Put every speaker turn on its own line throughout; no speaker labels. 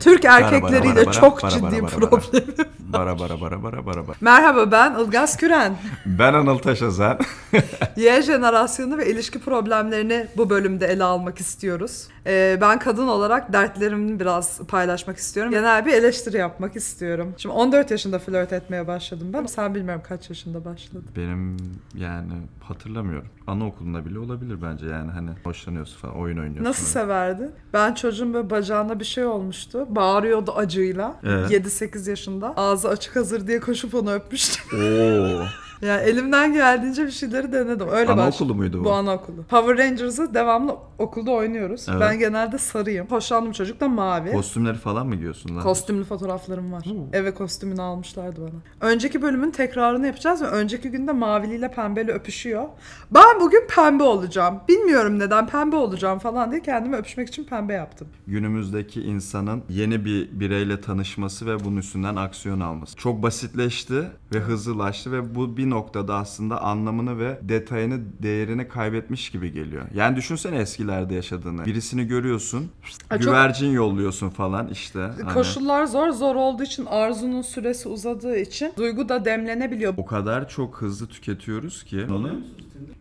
Türk erkekleriyle
bara, bara,
çok
bara,
ciddi
bara, bara, bara.
problemim.
Bara bara bara bara bara bara.
Merhaba ben Ilgaz Küren.
Ben Anıl Taşazan.
Y jenerasyonu ve ilişki problemlerini bu bölümde ele almak istiyoruz. Ee, ben kadın olarak dertlerimi biraz paylaşmak istiyorum. Genel bir eleştiri yapmak istiyorum. Şimdi 14 yaşında flört etmeye başladım ben. Sen bilmiyorum kaç yaşında başladın.
Benim yani hatırlamıyorum. Anaokulunda bile olabilir bence yani hani hoşlanıyorsun falan oyun oynuyorsun.
Nasıl severdin? Ben çocuğun böyle bacağına bir şey olmuştu. Bağırıyordu acıyla.
Evet.
7-8 yaşında. Ağzı açık hazır diye koşup onu öpmüştüm.
Oo.
yani elimden geldiğince bir şeyleri denedim. Öyle başladım.
Anaokulu muydu bu?
Bu anaokulu. Power Rangers'ı devamlı okulda oynuyoruz.
Evet.
Ben genelde sarıyım. Hoşlandığım çocuk da mavi.
Kostümleri falan mı giyiyorsun lan?
Kostümlü fotoğraflarım var.
Oo.
Eve kostümünü almışlardı bana. Önceki bölümün tekrarını yapacağız ve önceki günde maviliyle pembeli öpüşüyor. Ben bugün pembe olacağım. Bilmiyorum neden pembe olacağım falan diye kendimi öpüşmek için pembe yaptım.
Günümüzdeki insanın yeni bir bireyle tanışması ve bunun üstünden aksiyon alması. Çok basitleşti ve hızlılaştı ve bu bir noktada aslında anlamını ve detayını, değerini kaybetmiş gibi geliyor. Yani düşünsene eskilerde yaşadığını. Birisini görüyorsun,
Ay çok-
güvercin yolluyorsun falan işte. Hani
Koşullar zor. Zor olduğu için arzunun süresi uzadığı için duygu da demlenebiliyor.
O kadar çok hızlı tüketiyoruz ki onu.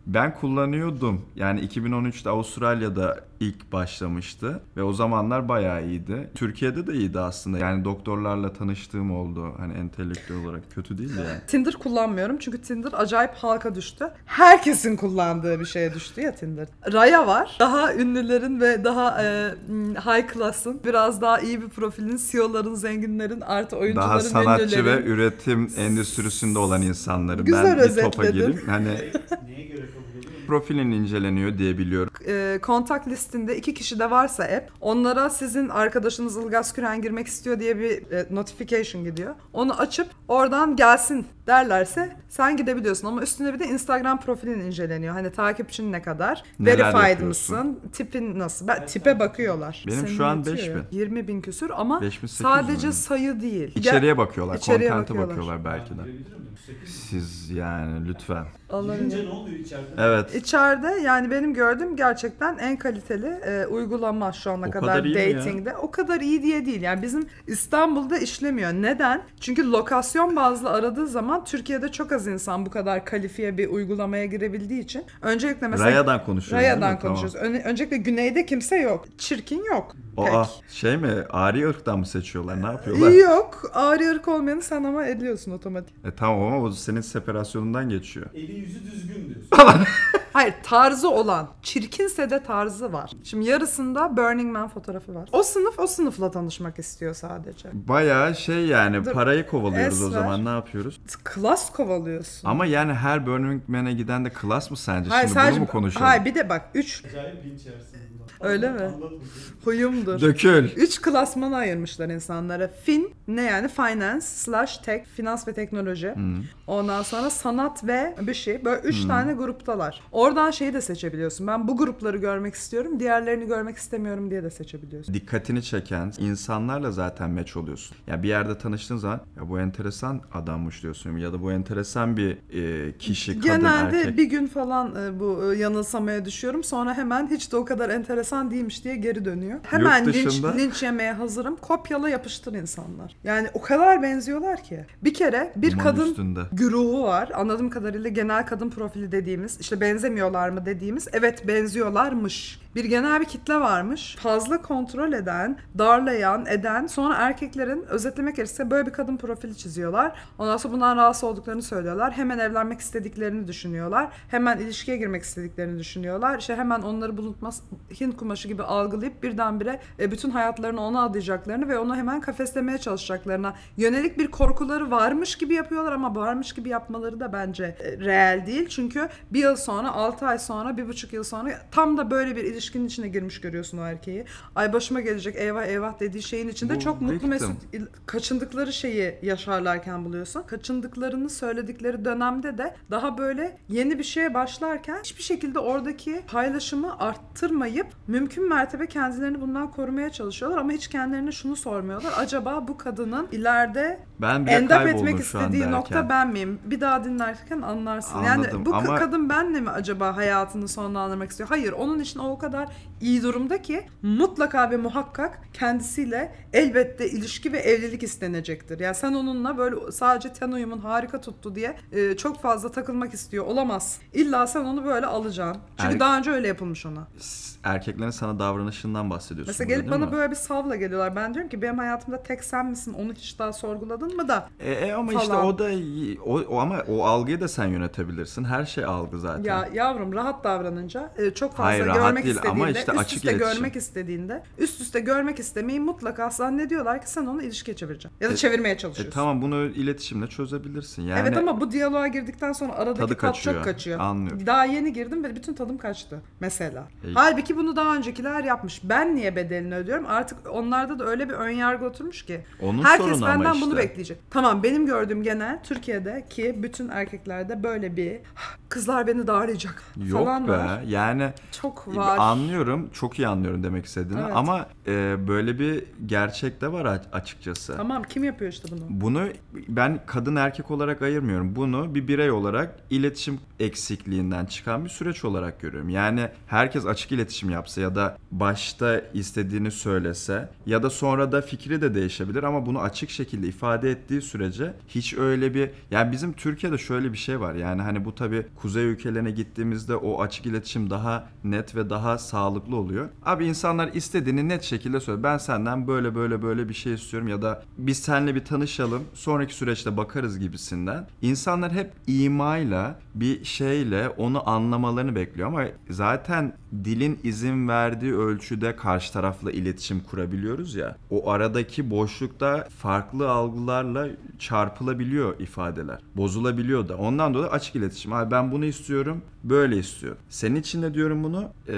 Ben kullanıyordum. Yani 2013'te Avustralya'da ilk başlamıştı ve o zamanlar bayağı iyiydi. Türkiye'de de iyiydi aslında. Yani doktorlarla tanıştığım oldu. Hani entelektüel olarak kötü değil de yani.
Tinder kullanmıyorum çünkü Tinder acayip halka düştü. Herkesin kullandığı bir şeye düştü ya Tinder. Raya var. Daha ünlülerin ve daha e, m, high class'ın, biraz daha iyi bir profilin, CEO'ların, zenginlerin, artı oyuncuların,
Daha sanatçı ve
ünlülerin.
üretim endüstrisinde olan insanları
Güzel
ben bir topa
özetledin.
gireyim. Hani
Neye göre kabul ediyor?
profilin inceleniyor diye biliyorum.
e, kontak listinde iki kişi de varsa app onlara sizin arkadaşınız Ilgaz Küren girmek istiyor diye bir e, notification gidiyor. Onu açıp oradan gelsin derlerse sen gidebiliyorsun ama üstüne bir de Instagram profilin inceleniyor. Hani takipçin ne kadar?
Neler
verified
yapıyorsun?
mısın? Tipin nasıl? Ben, tipe bakıyorlar.
Benim
Seni
şu an
yönetiyor
5000.
ya. 20 bin küsür ama
5800
sadece
mü?
sayı değil.
İçeriye bakıyorlar,
İçeriye
kontente bakıyorlar.
bakıyorlar
belki de.
Girebilir miyim? Sekiz.
Siz yani lütfen.
Alabilir.
Girince ne oluyor içeride?
Evet.
İçeride yani benim gördüğüm gerçekten en kaliteli e, uygulama şu ana
O
kadar,
kadar iyi mi ya?
dating'de. O kadar iyi diye değil. Yani bizim İstanbul'da işlemiyor. Neden? Çünkü lokasyon bazlı aradığı zaman Türkiye'de çok az insan bu kadar kalifiye bir uygulamaya girebildiği için. Öncelikle mesela
Raya'dan konuşuyoruz. değil mi?
Raya'dan
Tamam.
konuşuyoruz. Öne- öncelikle güneyde kimse yok. Çirkin yok.
Aa, şey mi? Ari ırktan mı seçiyorlar? Ne yapıyorlar?
İyi yok. Ağrı ırk olmayanı sen ama ediyorsun otomatik.
E tamam ama o senin separasyonundan geçiyor.
Eli yüzü düzgün diyorsun.
Hayır tarzı olan. Çirkinse de tarzı var. Şimdi yarısında Burning Man fotoğrafı var. O sınıf o sınıfla tanışmak istiyor sadece.
Bayağı şey yani
Dur,
parayı kovalıyoruz o
es
zaman ne yapıyoruz?
T- Klas kovalıyorsun.
Ama yani her Burning Man'e giden de klas mı sence?
hayır
Şimdi bunu
sadece
mu konuşalım?
Hayır bir de bak 3
Acayip linç yersin bundan.
Öyle
Anlat,
mi?
anlat bakayım.
huyumdur.
Dökül.
3 klasmana ayırmışlar insanlara. Fin ne yani finance slash tech finans ve teknoloji.
Hmm.
Ondan sonra sanat ve bir şey. Böyle 3 tane gruptalar. Oradan şeyi de seçebiliyorsun. Ben bu grupları görmek istiyorum, diğerlerini görmek istemiyorum diye de seçebiliyorsun.
Dikkatini çeken insanlarla zaten meç oluyorsun. Ya bir yerde tanıştığın zaman ya bu enteresan adammış diyorsun ya da bu enteresan bir e, kişi, kadın,
Genelde
erkek.
bir gün falan e, bu e, yanılsamaya düşüyorum. Sonra hemen hiç de o kadar enteresan değilmiş diye geri dönüyor. Hemen
dışında-
linç, linç yemeye hazırım. Kopyala yapıştır insanlar. Yani o kadar benziyorlar ki. Bir kere bir
Duman
kadın
üstünde.
güruhu var. Anladığım kadarıyla genel kadın profili dediğimiz, işte benzemiyorlar mı dediğimiz, evet benziyorlarmış. Bir genel bir kitle varmış. Fazla kontrol eden, darlayan, eden, sonra erkeklerin özetlemek gerekirse böyle bir kadın profili çiziyorlar. Ondan sonra bundan rahatsız olduklarını söylüyorlar. Hemen evlenmek istediklerini düşünüyorlar. Hemen ilişkiye girmek istediklerini düşünüyorlar. İşte hemen onları bulutmaz Hint kumaşı gibi algılayıp birdenbire e, bütün hayatlarını ona adayacaklarını ve onu hemen kafeslemeye çalışacaklarına yönelik bir korkuları varmış gibi yapıyorlar ama varmış gibi yapmaları da bence e, reel değil. Çünkü bir yıl sonra, altı ay sonra, bir buçuk yıl sonra tam da böyle bir ilişkinin içine girmiş görüyorsun o erkeği. Ay başıma gelecek eyvah eyvah dediği şeyin içinde
Bu
çok mutlu
victim.
mesut il- kaçındıkları şeyi yaşarlarken buluyorsun. Kaçındıklarını söyledikleri dönemde de daha böyle yeni bir şeye başlarken hiçbir şekilde oradaki paylaşımı arttırmayıp mümkün mertebe kendilerini bundan korumaya çalışıyorlar ama hiç kendilerine şunu sormuyorlar. Acaba bu kadının ileride
Ben bile
End up
kayboldum
etmek
şu an
istediği
derken.
nokta ben miyim? Bir daha dinlerken anlarsın.
Anladım
yani bu
ama-
kadın benle mi acaba hayatını sonlandırmak istiyor? Hayır. Onun için o kadar iyi durumda ki mutlaka ve muhakkak kendisiyle elbette ilişki ve evlilik istenecektir. Yani sen onunla böyle sadece ten uyumun harika tuttu diye e, çok fazla takılmak istiyor. Olamaz. İlla sen onu böyle alacaksın. Çünkü
Erk-
daha önce öyle yapılmış ona.
S- Erkeklerin sana davranışından bahsediyorsun.
Mesela
burada,
gelip
değil
bana
mi?
böyle bir savla geliyorlar. Ben diyorum ki benim hayatımda tek sen misin? Onu hiç daha sorguladın mı da
E, e ama işte
falan.
o da y- o, o ama o algıyı da sen yönetebilirsin. Her şey algı zaten.
Ya yavrum rahat davranınca e, çok fazla
Hayır, rahat
görmek
değil ama
istediğinde,
işte
üst
açık
üste
iletişim.
görmek istediğinde, üst üste görmek istemeyi mutlaka zannediyorlar ki sen onu ilişkiye çevireceksin. Ya da çevirmeye
E,
çalışıyorsun.
tamam bunu iletişimle çözebilirsin. Yani
evet ama bu diyaloğa girdikten sonra aradaki
Tadı
tat
kaçıyor.
çok kaçıyor.
Anlıyorum.
Daha yeni girdim ve bütün tadım kaçtı mesela.
İyi.
Halbuki bunu daha öncekiler yapmış. Ben niye bedelini ödüyorum? Artık onlarda da öyle bir önyargı oturmuş ki.
Onun
Herkes
sorunu
benden
ama
bunu
işte.
bekleyecek. Tamam benim gördüğüm genel Türkiye'deki bütün erkeklerde böyle bir "Hah, kızlar beni darlayacak
Yok
falan
be.
var.
Yani
Çok var.
anlıyorum. Çok iyi anlıyorum demek istediğini
Evet.
ama e, böyle bir gerçek de var a- açıkçası.
Tamam kim yapıyor işte bunu?
Bunu ben kadın erkek olarak ayırmıyorum. Bunu bir birey olarak iletişim eksikliğinden çıkan bir süreç olarak görüyorum. Yani herkes açık iletişim yapsa ya da başta istediğini söylese ya da sonra da fikri de değişebilir ama bunu açık şekilde ifade ettiği sürece hiç öyle bir yani bizim Türkiye'de şöyle bir şey var. Yani hani bu tabii kuzey ülkelerine gittiğimizde o açık iletişim daha net ve daha sağlıklı oluyor. Abi insanlar istediğini net şekilde söylüyor. Ben senden böyle böyle böyle bir şey istiyorum ya da biz seninle bir tanışalım sonraki süreçte bakarız gibisinden. İnsanlar hep imayla bir şeyle onu anlamalarını bekliyor ama zaten dilin izin verdiği ölçüde karşı tarafla iletişim kurabiliyoruz ya. O aradaki boşlukta farklı algılarla çarpılabiliyor ifadeler. Bozulabiliyor da. Ondan dolayı açık iletişim. Abi ben bunu istiyorum, böyle istiyorum. Senin için de diyorum bunu, eee,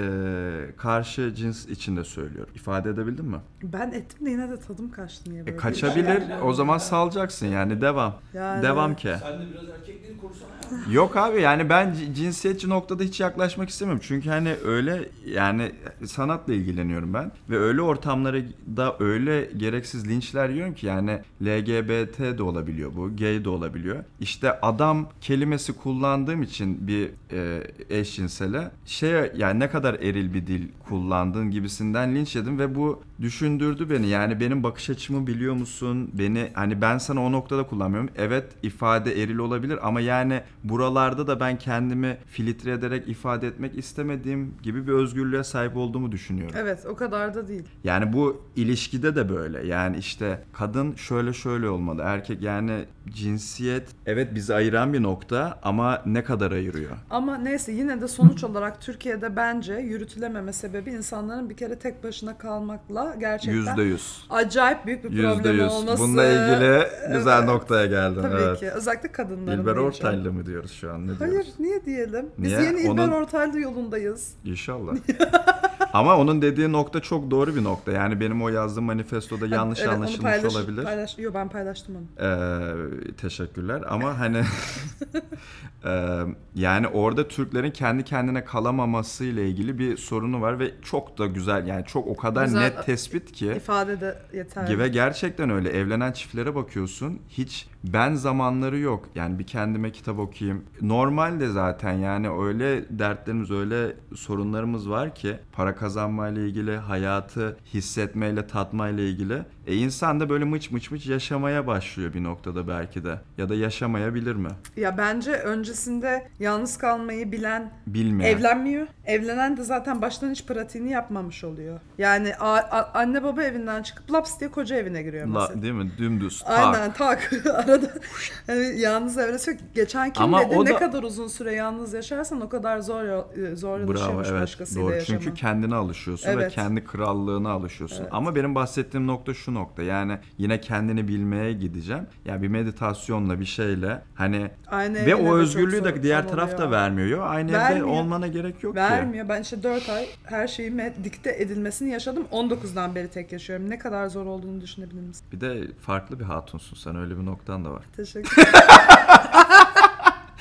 karşı cins için de söylüyorum. İfade edebildim mi?
Ben ettim de yine de tadım kaçtı niye böyle?
E, kaçabilir. O zaman salacaksın yani devam.
Yani-
Devam ki.
Sen de biraz erkekleri korusana ya.
Yok abi yani ben c- cinsiyetçi noktada hiç yaklaşmak istemiyorum. Çünkü hani öyle yani sanatla ilgileniyorum ben. Ve öyle ortamlara da öyle gereksiz linçler yiyorum ki yani LGBT de olabiliyor bu, gay de olabiliyor. İşte adam kelimesi kullandığım için bir e, eşcinsele şey yani ne kadar eril bir dil kullandın gibisinden linç yedim ve bu düşündürdü beni. Yani benim bakış açımı biliyor musun? Beni hani ben sana o noktada kullanmıyorum. Evet ifade eril olabilir ama yani buralarda da ben kendimi filtre ederek ifade etmek istemediğim gibi bir özgürlüğe sahip olduğumu düşünüyorum.
Evet o kadar da değil.
Yani bu ilişkide de böyle. Yani işte kadın şöyle şöyle olmalı. Erkek yani cinsiyet evet bizi ayıran bir nokta ama ne kadar ayırıyor?
Ama neyse yine de sonuç olarak Türkiye'de bence yürütülememe sebebi insanların bir kere tek başına kalmakla gerçekten
Yüzde yüz.
acayip büyük bir
Yüzde
problem
yüz.
olması.
Bununla ilgili güzel
Evet.
noktaya geldin.
Tabii
evet.
ki. Özellikle kadınların.
İlber
diyeceğim.
Ortaylı mı diyoruz şu an? Ne
Hayır
diyoruz?
niye diyelim? Biz
Niye?
yeni İlber
Onun-
Ortaylı yolundayız.
İnşallah. Ama onun dediği nokta çok doğru bir nokta. Yani benim o yazdığım manifestoda yanlış
Evet, onu
anlaşılmış
paylaş-
olabilir.
Paylaş... Yo, ben paylaştım onu.
Ee, teşekkürler ama hani ee, yani orada Türklerin kendi kendine kalamaması ile ilgili bir sorunu var ve çok da güzel yani çok o kadar
Güzel.
net tespit ki
İfade de yeterli.
ve gerçekten öyle evlenen çiftlere bakıyorsun hiç ben zamanları yok yani bir kendime kitap okuyayım normalde zaten yani öyle dertlerimiz öyle sorunlarımız var ki para kazanmayla ilgili hayatı hissetmeyle tatmayla ilgili e insan da böyle mıç mıç mıç yaşamaya başlıyor bir noktada belki de ya da yaşamayabilir mi
Ya bence öncesinde yalnız kalmayı bilen
bilmiyorum.
Evlenmiyor. Evlenen de zaten baştan hiç pratiğini yapmamış oluyor. Yani a- a- anne baba evinden çıkıp laps diye koca evine giriyor
La-
mesela.
değil mi dümdüz tak.
Aynen tak. Arada hani yalnız evresek geçen kim
Ama
dedi
o
ne
da-
kadar uzun süre yalnız yaşarsan o kadar zor yo- e,
Bravo
zorlaşıyormuş
evet
başkasıyla
doğru
yaşaman.
çünkü kendine alışıyorsun ve
Evet.
kendi krallığına alışıyorsun. Ama benim bahsettiğim nokta şu nokta yani yine kendini bilmeye gideceğim. Ya bir meditasyonla bir şeyle hani
Aynı
ve
evine de
o
çok
özgürlüğü
zor-
de diğer
zor
taraf da
oluyor.
vermiyor. Yo, Aynı evde
Vermiyor.
olmana gerek yok ki.
Vermiyor. Ben işte 4 ay her şeyime dikte edilmesini yaşadım. 19'dan beri tek yaşıyorum. Ne kadar zor olduğunu düşünebilir misin?
Bir de farklı bir hatunsun sen öyle bir noktan da var.
Teşekkür ederim.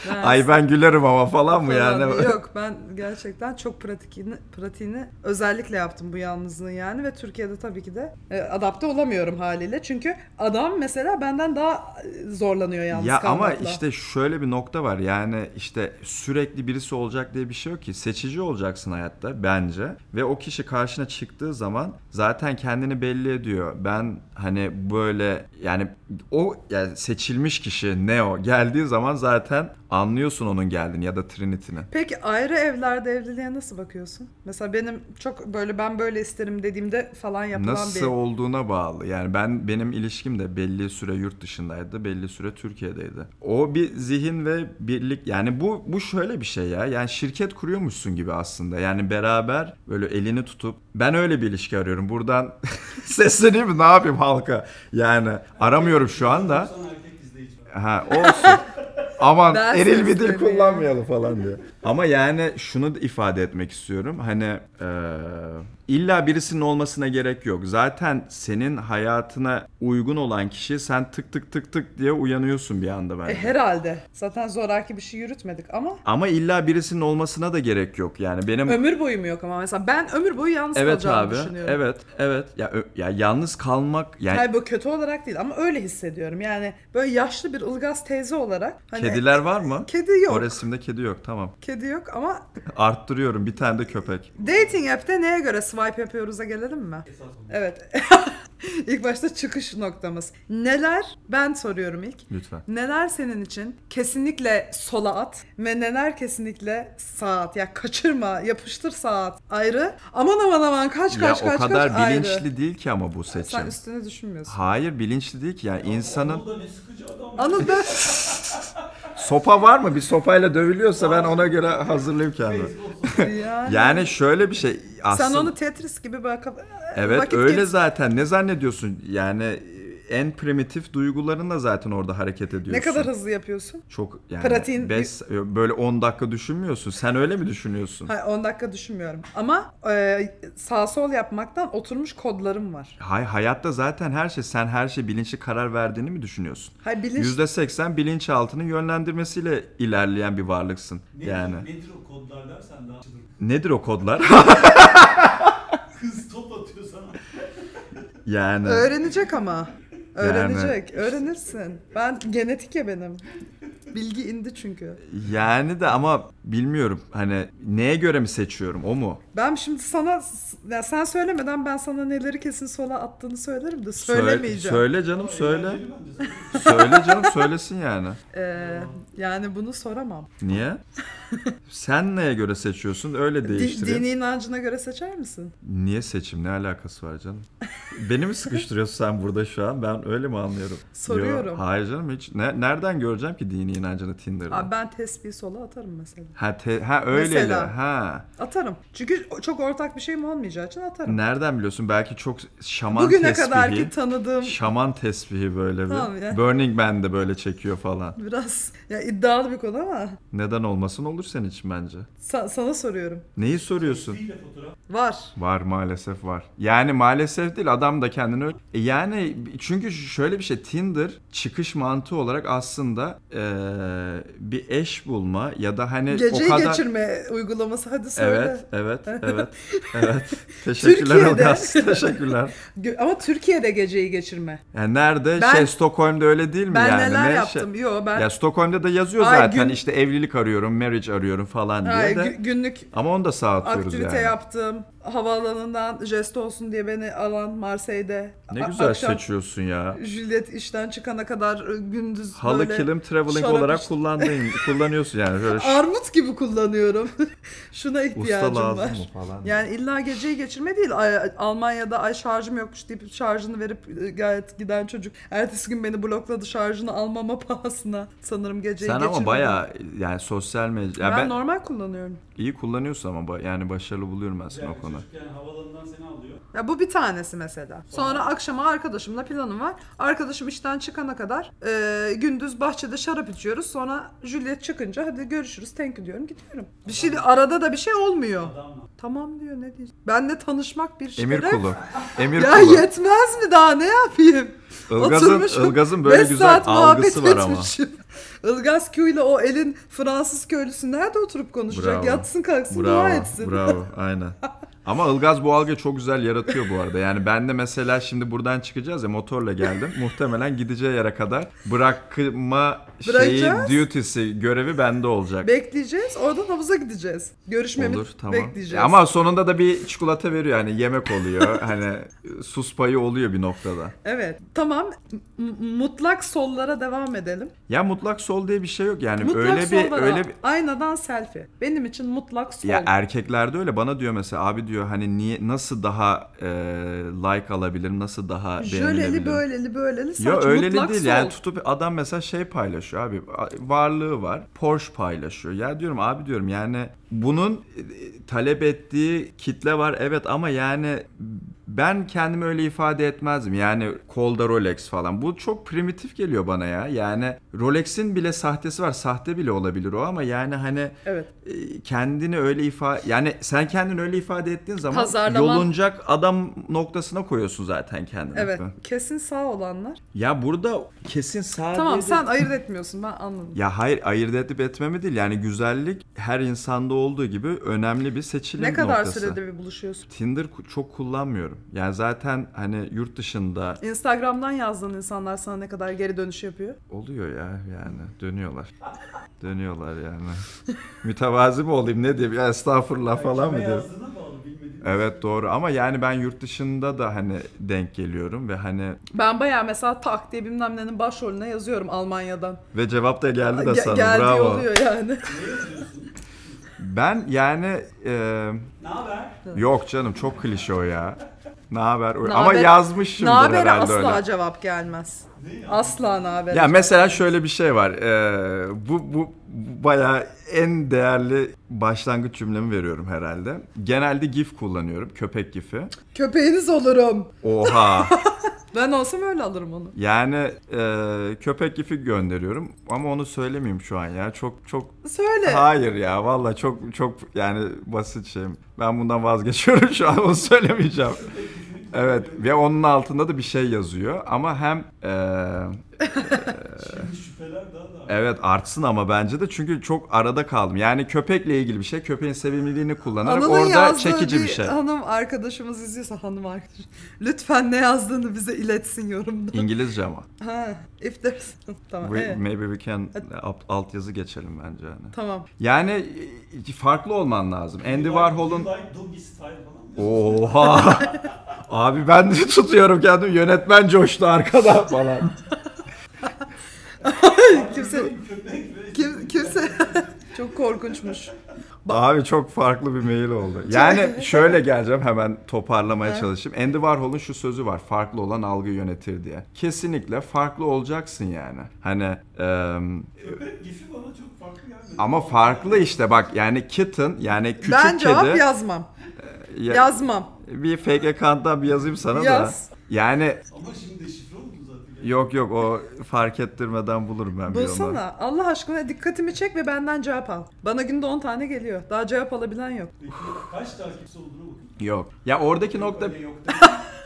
Ben-
Ay ben gülerim ama falan mı
falan
yani?
diye. Yok ben gerçekten çok pratikini, pratiğini özellikle yaptım bu yalnızlığı yani ve Türkiye'de tabii ki de e, adapte olamıyorum haliyle. Çünkü adam mesela benden daha e, zorlanıyor yalnız
Ya ama
kalmakla.
işte şöyle bir nokta var yani işte sürekli birisi olacak diye bir şey yok ki seçici olacaksın hayatta bence ve o kişi karşına çıktığı zaman zaten kendini belli ediyor ben hani böyle yani o yani seçilmiş kişi Neo geldiği zaman zaten anlıyorsun onun geldiğini ya da Trinity'nin.
Peki ayrı evlerde evliliğe nasıl bakıyorsun? Mesela benim çok böyle ben böyle isterim dediğimde falan yapılan
Nasıl
bir...
olduğuna bağlı. Yani ben benim ilişkim de belli süre yurt dışındaydı, belli süre Türkiye'deydi. O bir zihin ve birlik yani bu bu şöyle bir şey ya. Yani şirket kuruyormuşsun gibi aslında. Yani beraber böyle elini tutup ben öyle bir ilişki arıyorum. Buradan sesleneyim mi? Ne yapayım halka? Yani aramıyorum şu anda.
Sana erkek izleyici.
Ha olsun. Aman
Ben
eril bir dil
sesleneyim.
kullanmayalım falan diye. Ama yani şunu da ifade etmek istiyorum. Hani eee, illa birisinin olmasına gerek yok. Zaten senin hayatına uygun olan kişi sen tık tık tık tık diye uyanıyorsun bir anda
E,
bence.
herhalde. Zaten zoraki bir şey yürütmedik ama
Ama illa birisinin olmasına da gerek yok. Yani benim
ömür boyu mu yok ama mesela ben ömür boyu yalnız
Evet
kalacağımı
abi.
düşünüyorum.
Evet, evet. Ya, ö- ya yalnız kalmak yani
Hayır bu kötü olarak değil ama öyle hissediyorum. Yani böyle yaşlı bir ılgaz teyze olarak. Hani
kediler var mı?
Kedi yok.
O resimde kedi yok. Tamam.
Kedi yok ama
Arttırıyorum bir tane de köpek.
dating app'te neye göre swipe yapıyoruz'a gelelim mi?
Esas bu.
Evet. ilk başta çıkış noktamız. Neler? Ben soruyorum ilk.
Lütfen.
Neler senin için kesinlikle sola at ve neler kesinlikle sağa at. Ya kaçırma, yapıştır sağa at. Ayrı. Aman aman aman kaç
ya
kaç
o
kaç
kadar
kaç ayrı.
bilinçli değil ki ama bu seçim.
Sen üstüne düşünmüyorsun.
Hayır bilinçli değil ki yani insanın
Anıl da ne sıkıcı adam. ya.
Anıl ben
sopa var mı bir sopayla dövülüyorsa ben ona göre hazırlayayım kendimi.
Facebook.
yani,
Yani şöyle bir şey aslında.
sen onu Tetris gibi bakıp
Evet
vakit
öyle
geç-
zaten ne zannediyorsun yani e, en primitif duygularınla zaten orada hareket ediyorsun.
Ne kadar hızlı yapıyorsun?
Çok yani
Pratiğin-
5 böyle 10 dakika düşünmüyorsun. Sen öyle mi düşünüyorsun?
Hayır 10 dakika düşünmüyorum. Ama e, sağ sol yapmaktan oturmuş kodlarım var.
Hay hayatta zaten her şey sen her şey bilinçli karar verdiğini mi düşünüyorsun?
Hayır bilinç
%80 bilinçaltının yönlendirmesiyle ilerleyen bir varlıksın
Ne-
yani.
Nedir o kodlar dersen daha açılır.
Nedir o kodlar?
Kız top atıyor sana.
yani
öğrenecek ama. Öğrenecek.
işte-
Öğrenirsin. Ben genetik ya benim. Bilgi indi çünkü.
yani de ama bilmiyorum hani neye göre mi seçiyorum o mu?
Ben şimdi sana ya sen söylemeden ben sana neleri kesin sola attığını söylerim de
Söyle-
söylemeyeceğim.
söyle canım söyle.
Eğlenceli bence sana.
söyle canım söylesin yani.
Ee, yani bunu soramam.
Niye? Sen neye göre seçiyorsun öyle
Di-
değiştireyim.
dini inancına göre seçer misin?
Niye seçim ne alakası var canım? Beni mi sıkıştırıyorsun sen burada şu an ben öyle mi anlıyorum?
Soruyorum.
Yo, hayır canım hiç. Ne- nereden göreceğim ki dini inancını Tinder'da?
Abi ben tespihi sola atarım mesela.
Ha, te- ha öyle
Mesela.
ha.
Atarım. Çünkü çok ortak bir şeyim olmayacağı için atarım.
Nereden biliyorsun? Belki çok şaman
Bugüne
tesbihi.
kadarki tanıdığım
Şaman tesbihi böyle bir.
Tamam ya.
Burning Man de böyle çekiyor falan.
biraz ya iddialı bir konu ama
Neden olmasın olur senin için bence.
sa- sana soruyorum.
Neyi soruyorsun?
Değil de fotoğraf.
Var.
Var maalesef var. Yani maalesef değil adam da kendini öyle- E Yani çünkü şöyle bir şey Tinder çıkış mantığı olarak aslında eee, bir eş bulma ya da hani
Geceyi
o kadar...
geçirme uygulaması hadi söyle.
Evet, evet, evet, evet. Teşekkürler
Türkiye'de.
Ilgaz, teşekkürler.
Gö- Ama Türkiye'de geceyi geçirme.
Yani nerede?
Ben-
şey Stockholm'da öyle değil mi
Ben
yani?
neler
Ne şey-
yaptım? Yo ben
Ya Stockholm'da da yazıyor
Ay,
zaten
gün-
işte evlilik arıyorum, marriage arıyorum falan diye
Hayır,
de.
gü- günlük
Ama onu da sağ atıyoruz
aktivite
yani.
yaptım. Havaalanından jest olsun diye beni alan Marseille'de.
Ne
A-
güzel
akşam
seçiyorsun ya.
Juliet işten çıkana kadar e, gündüz
Halı
böyle
kilim traveling
şarap
olarak
iç-
kullandığın, kullanıyorsun yani. Böyle ş-
armut gibi kullanıyorum. Şuna
usta
ihtiyacım var.
lazım mı falan.
Yani illa geceyi geçirme değil. Ay- Almanya'da ay şarjım yokmuş deyip şarjını verip e, gayet giden çocuk. Ertesi gün beni blokladı şarjını almama pahasına. Sanırım geceyi
Sen
geçirmedim.
ama bayağı yani sosyal medya ya
Şey Ben,
ben,
normal kullanıyorum.
iyi kullanıyorsun ama ba- yani başarılı buluyorum ben seni
Yani
o konuda.
Çocuk yani havalanından seni alıyor.
Ya bu bir tanesi mesela. Sonra akşama arkadaşımla planım var. Arkadaşım işten çıkana kadar e, gündüz bahçede şarap içiyoruz. Sonra Juliet çıkınca hadi görüşürüz thank you diyorum gidiyorum. Bir şey arada da bir şey olmuyor.
Adamla.
Tamam diyor ne diyeceğim. Benle tanışmak bir şeref.
Emir kulu. Emir
Ya
kulu.
yetmez mi daha ne yapayım?
Ilgaz'ın,
Oturmuşum,
Ilgaz'ın böyle
beş
güzel algısı var
muhabbet
ama.
etmişim. Ilgaz Q ile o elin Fransız köylüsü nerede oturup konuşacak?
Bravo.
Yatsın kalksın dua
Bravo,
etsin.
bravo. Aynen. Ama Ilgaz bu algıyı çok güzel yaratıyor bu arada. Yani ben de mesela şimdi buradan çıkacağız ya motorla geldim. Muhtemelen gideceği yere kadar bırakma şeyi,
Bırakacağız.
duty'si, görevi bende olacak.
Bekleyeceğiz. Oradan havuza gideceğiz. Görüşmemi
Olur tamam.
bekleyeceğiz.
Ama sonunda da bir çikolata veriyor hani yemek oluyor. hani sus payı oluyor bir noktada.
Evet. Tamam. M- mutlak sollara devam edelim.
Ya mutlak sol diye bir şey yok yani
Mutlak
öyle bir
sollara.
öyle bir
Aynadan selfie. Benim için mutlak sol.
Ya erkeklerde öyle bana diyor mesela abi diyor hani niye nasıl daha e, like alabilirim nasıl daha
Jöleli
beğenilebilirim?
böyleli böyleli saç
Ya öyle
mutlak
değil
sol.
yani tutup adam mesela şey paylaşıyor abi varlığı var Porsche paylaşıyor ya diyorum abi diyorum yani bunun e, talep ettiği kitle var evet ama yani ben kendimi öyle ifade etmezdim yani kolda Rolex falan bu çok primitif geliyor bana ya yani Rolex'in bile sahtesi var sahte bile olabilir o ama yani hani
Evet.
e, kendini öyle ifade yani sen kendini öyle ifade ettiğin zaman
Pazarlama-
yolunacak adam noktasına koyuyorsun zaten kendini.
Evet. Kesin sağ olanlar.
Ya burada kesin sadece...
Tamam sen ayırt etmiyorsun ben anladım.
Ya hayır ayırt edip etmemi değil yani güzellik her insanda olduğu gibi önemli bir seçilim
ne kadar
noktası.
sürede bir buluşuyorsun?
Tinder ku- çok kullanmıyorum. Yani zaten hani yurt dışında
Instagram'dan yazdığın insanlar sana ne kadar geri dönüş yapıyor?
oluyor ya yani dönüyorlar. Dönüyorlar yani. Mütevazi mi olayım ne diyeyim ya estağfurullah falan mı
Kime
diyeyim.
yazdığına bağlı bilmediğim.
Evet doğru ama yani ben yurt dışında da hani denk geliyorum ve hani
Ben bayağı mesela tak diye bilmem nenin başrolüne yazıyorum Almanya'dan.
ve cevap da geldi de
Ge-
sana
geldiği
bravo.
oluyor yani.
Ne yazıyorsun?
Ben yani e,
Ne haber?
Yok canım çok klişe o ya. Ne haber?
Naber-
Ama yazmışımdır
Nabere
herhalde
asla
öyle.
cevap gelmez.
Ne ya?
Asla nabere.
Ya mesela şöyle bir şey var. Ee, bu bu bayağı en değerli başlangıç cümlemi veriyorum herhalde. Genelde gif kullanıyorum. Köpek gifi.
Köpeğiniz olurum.
Oha.
Ben olsam öyle alırım onu.
yani e, köpek gifi gönderiyorum ama onu söylemeyeyim şu an ya. Çok çok
Söyle.
Hayır ya valla çok çok yani basit şeyim. Ben bundan vazgeçiyorum şu an onu söylemeyeceğim. Evet ve onun altında da bir şey yazıyor ama hem eee, Ee.
Şimdi şüpheler daha da.
evet artsın ama bence de çünkü çok arada kaldım. Yani köpekle ilgili bir şey köpeğin sevimliliğini kullanarak
Anıl'ın
orada
yazdığı
çekici bir şey.
Hanım arkadaşımız izliyorsa hanım arkadaş. Lütfen ne yazdığını bize iletsin yorumda.
İngilizce ama.
ha, if there's... tamam.
We-
evet.
Maybe we can alt- altyazı geçelim bence yani.
Tamam.
Yani e, farklı olman lazım. Andy Warhol'un
You like doggy style falan mı?
Oha! Abi ben de tutuyorum kendimi. Yönetmen coştu arkada falan.
Kimse
Köpek ve
kim, kimse çok korkunçmuş.
Abi çok farklı bir mail oldu. Yani şöyle geleceğim hemen toparlamaya çalışayım. Andy Warhol'un şu sözü var. Farklı olan algı yönetir diye. Kesinlikle farklı olacaksın yani. Hani em,
köpek gifi bana çok farklı gelmedi.
ama farklı işte bak yani kitten yani küçük
ben cevap
kedi.
yazmam.
Ya-
Yazmam.
bir fake account'tan bir yazayım sana
Yaz.
da. Yani
Ama şimdi şifre oldu zaten.
yok yok o fark ettirmeden bulurum ben bir yolunu.
Bulsana. Allah aşkına dikkatimi çek ve benden cevap al. Bana günde 10 tane geliyor. Daha cevap alabilen yok.
Peki kaç takipçi olduğuna bakın.
Yok. Ya oradaki nokta
Öyle yok değil.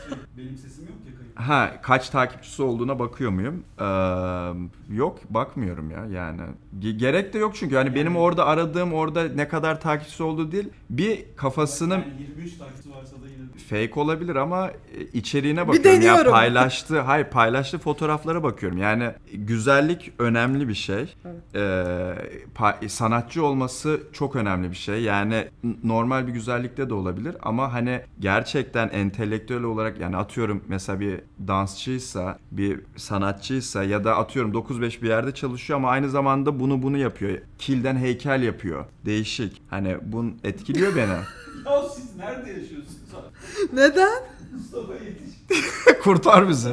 Şey, benim sesim yok ya kayıp.
Ha kaç takipçisi olduğuna bakıyor muyum? Ee, yok bakmıyorum ya yani. Ge- gerek de yok çünkü yani benim orada aradığım orada ne kadar takipçisi olduğu değil. Bir kafasının
Yani 23 takipçi varsa da yine de.
fake olabilir ama e, içeriğine
Bir
bakıyorum. ya
deniyorum.
paylaştı. Hayır paylaştı fotoğraflara bakıyorum. Yani güzellik önemli bir şey.
Evet.
Ee, pa- sanatçı olması çok önemli bir şey. Yani n- normal bir güzellikte de olabilir ama hani gerçekten entelektüel olarak yani atıyorum mesela bir dansçıysa, bir sanatçıysa ya da atıyorum 9-5 bir yerde çalışıyor ama aynı zamanda bunu bunu yapıyor. Kilden heykel yapıyor. Değişik. Hani bunun etkiliyor beni.
Ya siz nerede yaşıyorsunuz?
Neden?
Mustafa yetiş.
Kurtar bizi.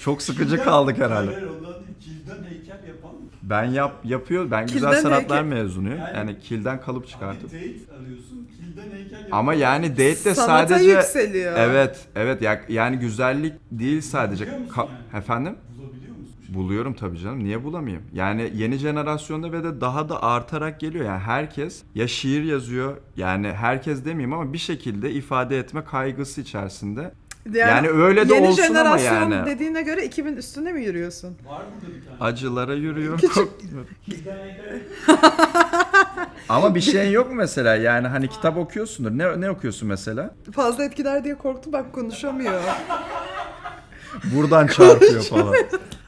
Çok sıkıcı kaldık herhalde.
Hayır ondan değil. Kilden heykel yapan mı?
Ben yap yapıyor. Ben güzel
Kilden
sanatlar
heykel-
mezunuyum.
Yani-
Yani kilden kalıp çıkartıp.
Bir date arıyorsun. Kilden heykel yapan.
Ama yani date de
Sanata
sadece
yükseliyor.
Evet, evet. Ya, yani güzellik değil sadece.
Biliyor musun
Ka-
yani?
Efendim?
Bulabiliyor musun?
Buluyorum tabii canım. Niye bulamayayım? Yani yeni jenerasyonda ve de daha da artarak geliyor. Yani herkes ya şiir yazıyor. Yani herkes demeyeyim ama bir şekilde ifade etme kaygısı içerisinde. Yani öyle de
yeni
olsun ama
jenerasyon
yani.
dediğine göre 2000 üstünde mi yürüyorsun?
Var burada bir tane.
Acılara yürüyor.
Küçük-
Kilden heykel yapalım.
Ama bir şey yok mu mesela yani hani kitap okuyorsundur. Ne, ne okuyorsun mesela?
Fazla etkiler diye korktu bak konuşamıyor.
Buradan çarpıyor falan.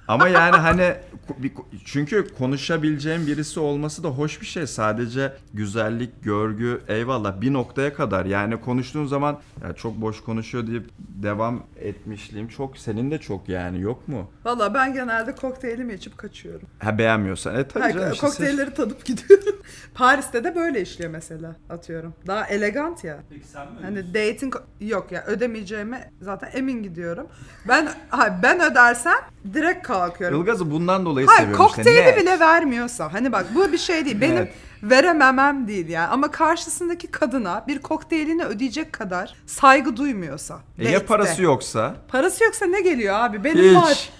Ama yani hani ku- bir- çünkü konuşabileceğim birisi olması da hoş bir şey. Sadece güzellik, görgü eyvallah bir noktaya kadar. Yani konuştuğun zaman "Ya çok boş konuşuyor deyip devam etmişliğim çok. Senin de çok yani yok mu?
Valla ben genelde kokteylimi içip kaçıyorum.
Ha beğenmiyorsan. E tabii
Her-
canım. işte seç-
kokteylleri tadıp gidiyorum. Paris'te de böyle işliyor mesela atıyorum. Daha elegant ya.
Peki sen mi?
Hani dating yok ya ödemeyeceğime zaten emin gidiyorum. Ben ha, ben ödersem direkt kalkıyorum.
Ilgaz'ı bundan dolayı
Hayır
seviyorum işte.
kokteyli
Net.
bile vermiyorsa hani bak bu bir şey değil benim
Evet.
verememem değil yani ama karşısındaki kadına bir kokteylini ödeyecek kadar saygı duymuyorsa.
E ya
date'te.
parası yoksa?
Parası yoksa ne geliyor abi benim var.
Hiç.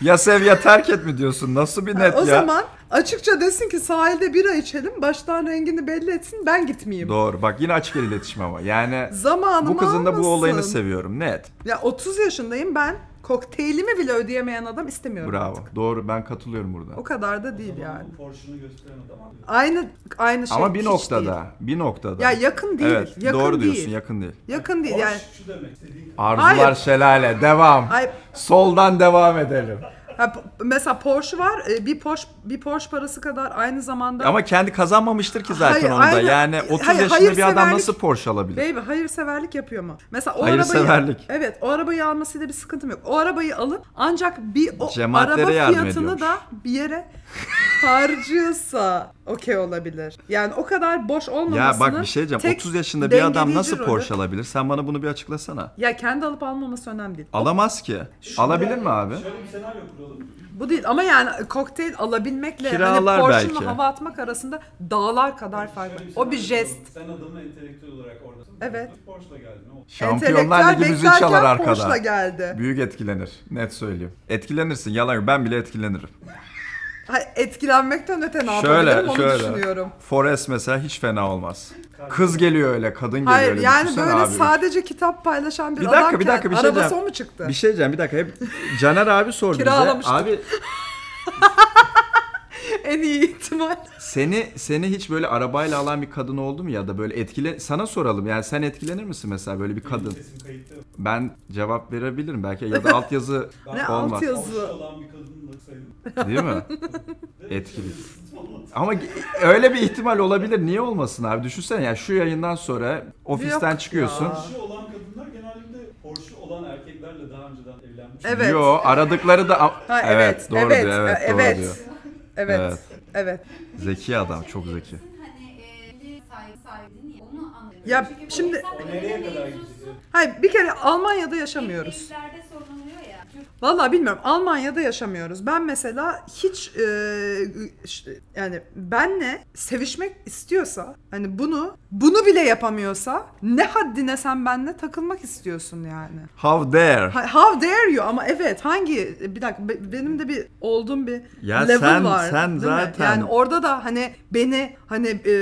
ya sev ya terk et mi diyorsun? Nasıl bir net
o
ya?
zaman açıkça desin ki sahilde bira içelim baştan rengini belli etsin ben gitmeyeyim.
Doğru. Bak yine açık el iletişim ama. Yani
Zamanımı
bu kızın da bu
almasın.
olayını seviyorum. Net.
Ya 30 yaşındayım ben kokteylimi bile ödeyemeyen adam istemiyorum
Bravo.
artık.
Doğru. Ben katılıyorum burada.
O kadar da değil
Adamın
yani.
Porsche'unu gösteren adam abi.
Aynı aynı şey
ama bir
hiç
noktada,
değil.
bir noktada.
Ya yakın değil,
Evet,
yakın
doğru
değil.
diyorsun, yakın değil.
Yakın değil
Porsche
yani.
şu demek. istediğin kadar.
Arzular
Hayır.
şelale, devam.
Ay,
Soldan devam edelim.
ha, p- mesela Porsche var. e, Bir Porsche bir Porsche parası kadar aynı zamanda
Ama kendi kazanmamıştır ki zaten
Hayır,
onda.
aynen.
Yani 30
Hayır,
yaşında bir adam
hayırseverlik-
nasıl Porsche alabilir?
Baby hayırseverlik yapıyor mu? Mesela o arabayı
Hayırseverlik.
Evet, o arabayı almasıyla bir sıkıntım yok. O arabayı alıp ancak bir o
Cemaatlere
araba
yardım
fiyatını
ediyormuş.
da bir yere harcıyorsa okey olabilir. Yani o kadar boş olmamasının
Ya bak bir şey diyeceğim.
tek
30 yaşında bir adam
dengeleyici
nasıl
rolü-
Porsche alabilir? Sen bana bunu bir açıklasana.
Ya kendi alıp almaması önemli değil.
Alamaz ki. Alabilir mi abi?
Şöyle bir senaryo kuralım.
Bu değil ama yani kokteyl alabilmekle
Kiralar
hani Porsche'unla
belki.
hava atmak arasında dağlar kadar fark var.
Şöyle
O bir
senaryo
jest.
kuralım. Sen adamı entelektüel olarak orada.
Evet.
Porsche'la geldin. O.
Şampiyonlar Ligi müziği
beklerken
çalar arkada.
Porsche'la geldi.
Büyük etkilenir. Net söyleyeyim. Etkilenirsin. Yalan yok. Ben bile etkilenirim.
Ha, etkilenmekten öte ne
şöyle
yapabilirim onu
şöyle.
düşünüyorum.
Forest mesela hiç fena olmaz. Kız geliyor öyle. Kadın geliyor
Hayır
öyle.
yani
Düşünsene
böyle
abi.
sadece kitap paylaşan bir,
Bir dakika,
adamken
bir dakika, bir şey
arabası
diyeceğim.
o mu çıktı?
Bir şey diyeceğim. Bir dakika. Hep Caner abi sordu bize.
Kiralamıştım.
Abi şey-
en iyi ihtimal.
seni seni hiç böyle arabayla alan bir kadın oldu mu ya da böyle etkile sana soralım. Yani sen etkilenir misin mesela böyle bir kadın?
Sesim kayıtta yok.
Ben cevap verebilirim belki ya da altyazı
Ne
olmaz.
altyazı?
Porsche olan bir kadınla sayılır.
Değil mi? Etkili.
Tamam.
Ama ge- öyle bir ihtimal olabilir. Niye olmasın abi? Düşünsene ya şu yayından sonra ofisten
Yok
çıkıyorsun.
ya.
Porsche olan kadınlar genellikle Porsche olan erkeklerle daha önceden evlenmiş.
Evet.
Yo aradıkları da a-
Ha,
evet, doğru
evet,
diyor evet,
evet,
doğru diyor.
evet,
Evet.
evet.
Zeki adam çok zeki.
Hani e, saygı saygı niye? Onu anlıyorum.
Ya
Çünkü bu
şimdi-
insan
O nereye
kadına
kadar
mevzusu
gidecek?
Hayır bir kere Almanya'da yaşamıyoruz.
evliliklerde sorun oluyor ya. Çünkü
Vallahi bilmiyorum Almanya'da yaşamıyoruz. Ben mesela hiç e, ş- yani benle sevişmek istiyorsa hani bunu bunu bile yapamıyorsa ne haddine sen benle takılmak istiyorsun yani.
How dare?
Ha- How dare you ama evet hangi bir dakika be- benim de bir olduğum bir
Ya
level
sen-
var.
sen
değil mi?
zaten-
Yani orada da hani beni hani e,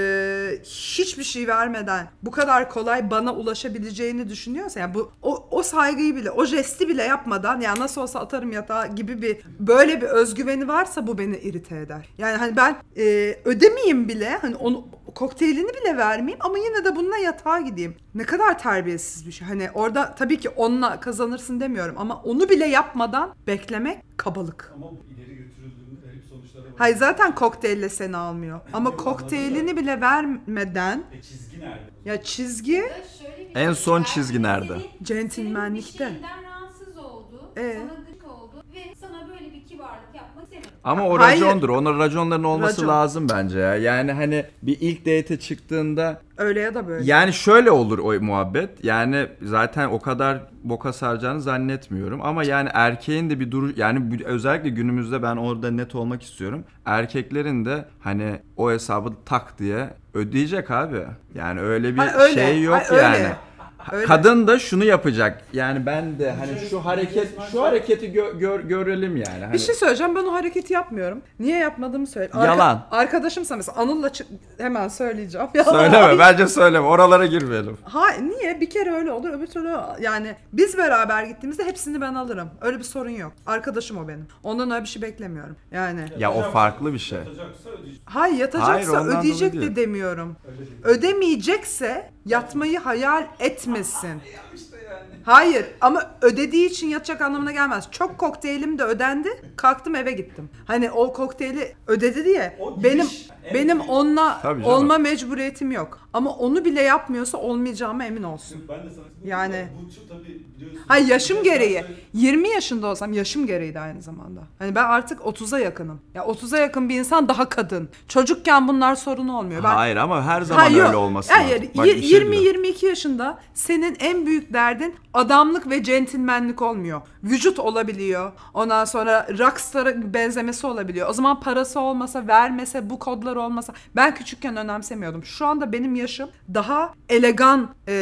hiçbir şey vermeden bu kadar kolay bana ulaşabileceğini düşünüyorsa yani bu o, o saygıyı bile o jesti bile yapmadan ya nasıl olsa atarım yatağa gibi bir böyle bir özgüveni varsa bu beni irite eder. Yani hani ben e, ödemeyeyim bile hani onu kokteylini bile vermeyeyim ama yine de bununla yatağa gideyim. Ne kadar terbiyesiz bir şey. Hani orada tabii ki onunla kazanırsın demiyorum ama onu bile yapmadan beklemek kabalık.
Ama bu ileri götürüldüğünde garip sonuçlara var.
Hayır zaten kokteylle seni almıyor. Ama kokteylini bile vermeden
E çizgi nerede?
ya çizgi
da şöyle bir
En
şey
son
var.
çizgi nerede?
Senin-
Centilmenlikte.
senin bir şeyinden rahatsız oldu.
Ee?
Sana gıcık oldu. Ve sana böyle bir kibarlık yapmak istemedi.
Ama o
Hayır.
racondur. Onun raconların olması
Racon.
lazım bence ya. Yani hani bir ilk date'e çıktığında
öyle ya da böyle.
Yani şöyle olur o muhabbet. Yani zaten o kadar boka saracağını zannetmiyorum. Ama yani erkeğin de bir duru yani bu- özellikle günümüzde ben orada net olmak istiyorum. Erkeklerin de hani o hesabı tak diye ödeyecek abi. Yani öyle bir
Ay öyle,
şey yok
ay öyle.
yani.
Öyle.
Kadın da şunu yapacak. Yani ben de hani
Şöyle-
şu hareket şu hareketi gö- gör- görelim yani. Hani
Bir şey söyleyeceğim ben o hareketi yapmıyorum. Niye yapmadığımı söyle.
Yalan.
Arkadaşımsa mesela Anıl'la çı- hemen söyleyeceğim. Yalan.
söyleme bence söyleme. Oralara girmeyelim.
Ha niye? Bir kere öyle olur öbür türlü yani biz beraber gittiğimizde hepsini ben alırım. Öyle bir sorun yok. Arkadaşım o benim. Ondan öyle bir şey beklemiyorum. Yani
Ya o farklı bir şey.
Yatacaksa ödeyecek.
hay
Hayır,
yatacaksa
ondan dolayı
ödeyecek de
değil.
demiyorum.
Öyle değil.
Ödemeyecekse yatmayı hayal etmesin.
Ya işte yani.
Hayır ama ödediği için yatacak anlamına gelmez. Çok kokteylim de ödendi. Kalktım eve gittim. Hani o kokteyli ödedi diye
O giriş,
benim
evet.
benim onunla
Tabii canım.
olma mecburiyetim yok. Ama onu bile yapmıyorsa olmayacağıma emin olsun.
Şimdi ben de sana
Yani-
Bu şu tabii biliyorsun.
Hayır yaşım
Yaşarsa-
gereği. 20 yaşında olsam yaşım gereği de aynı zamanda. Hani ben artık 30'a yakınım. Ya 30'a yakın bir insan daha kadın. Çocukken bunlar sorun olmuyor. Ben
Hayır ama her zaman
Hayır,
öyle olması
Hayır,
lazım. Bak bir şey diyeceğim.
20-22 yaşında senin en büyük derdin adamlık ve centilmenlik olmuyor. Vücut olabiliyor. Ondan sonra rockstar'a benzemesi olabiliyor. O zaman parası olmasa, vermese, bu kodlar olmasa. Ben küçükken önemsemiyordum. Şu anda benim yaşım daha elegan eee,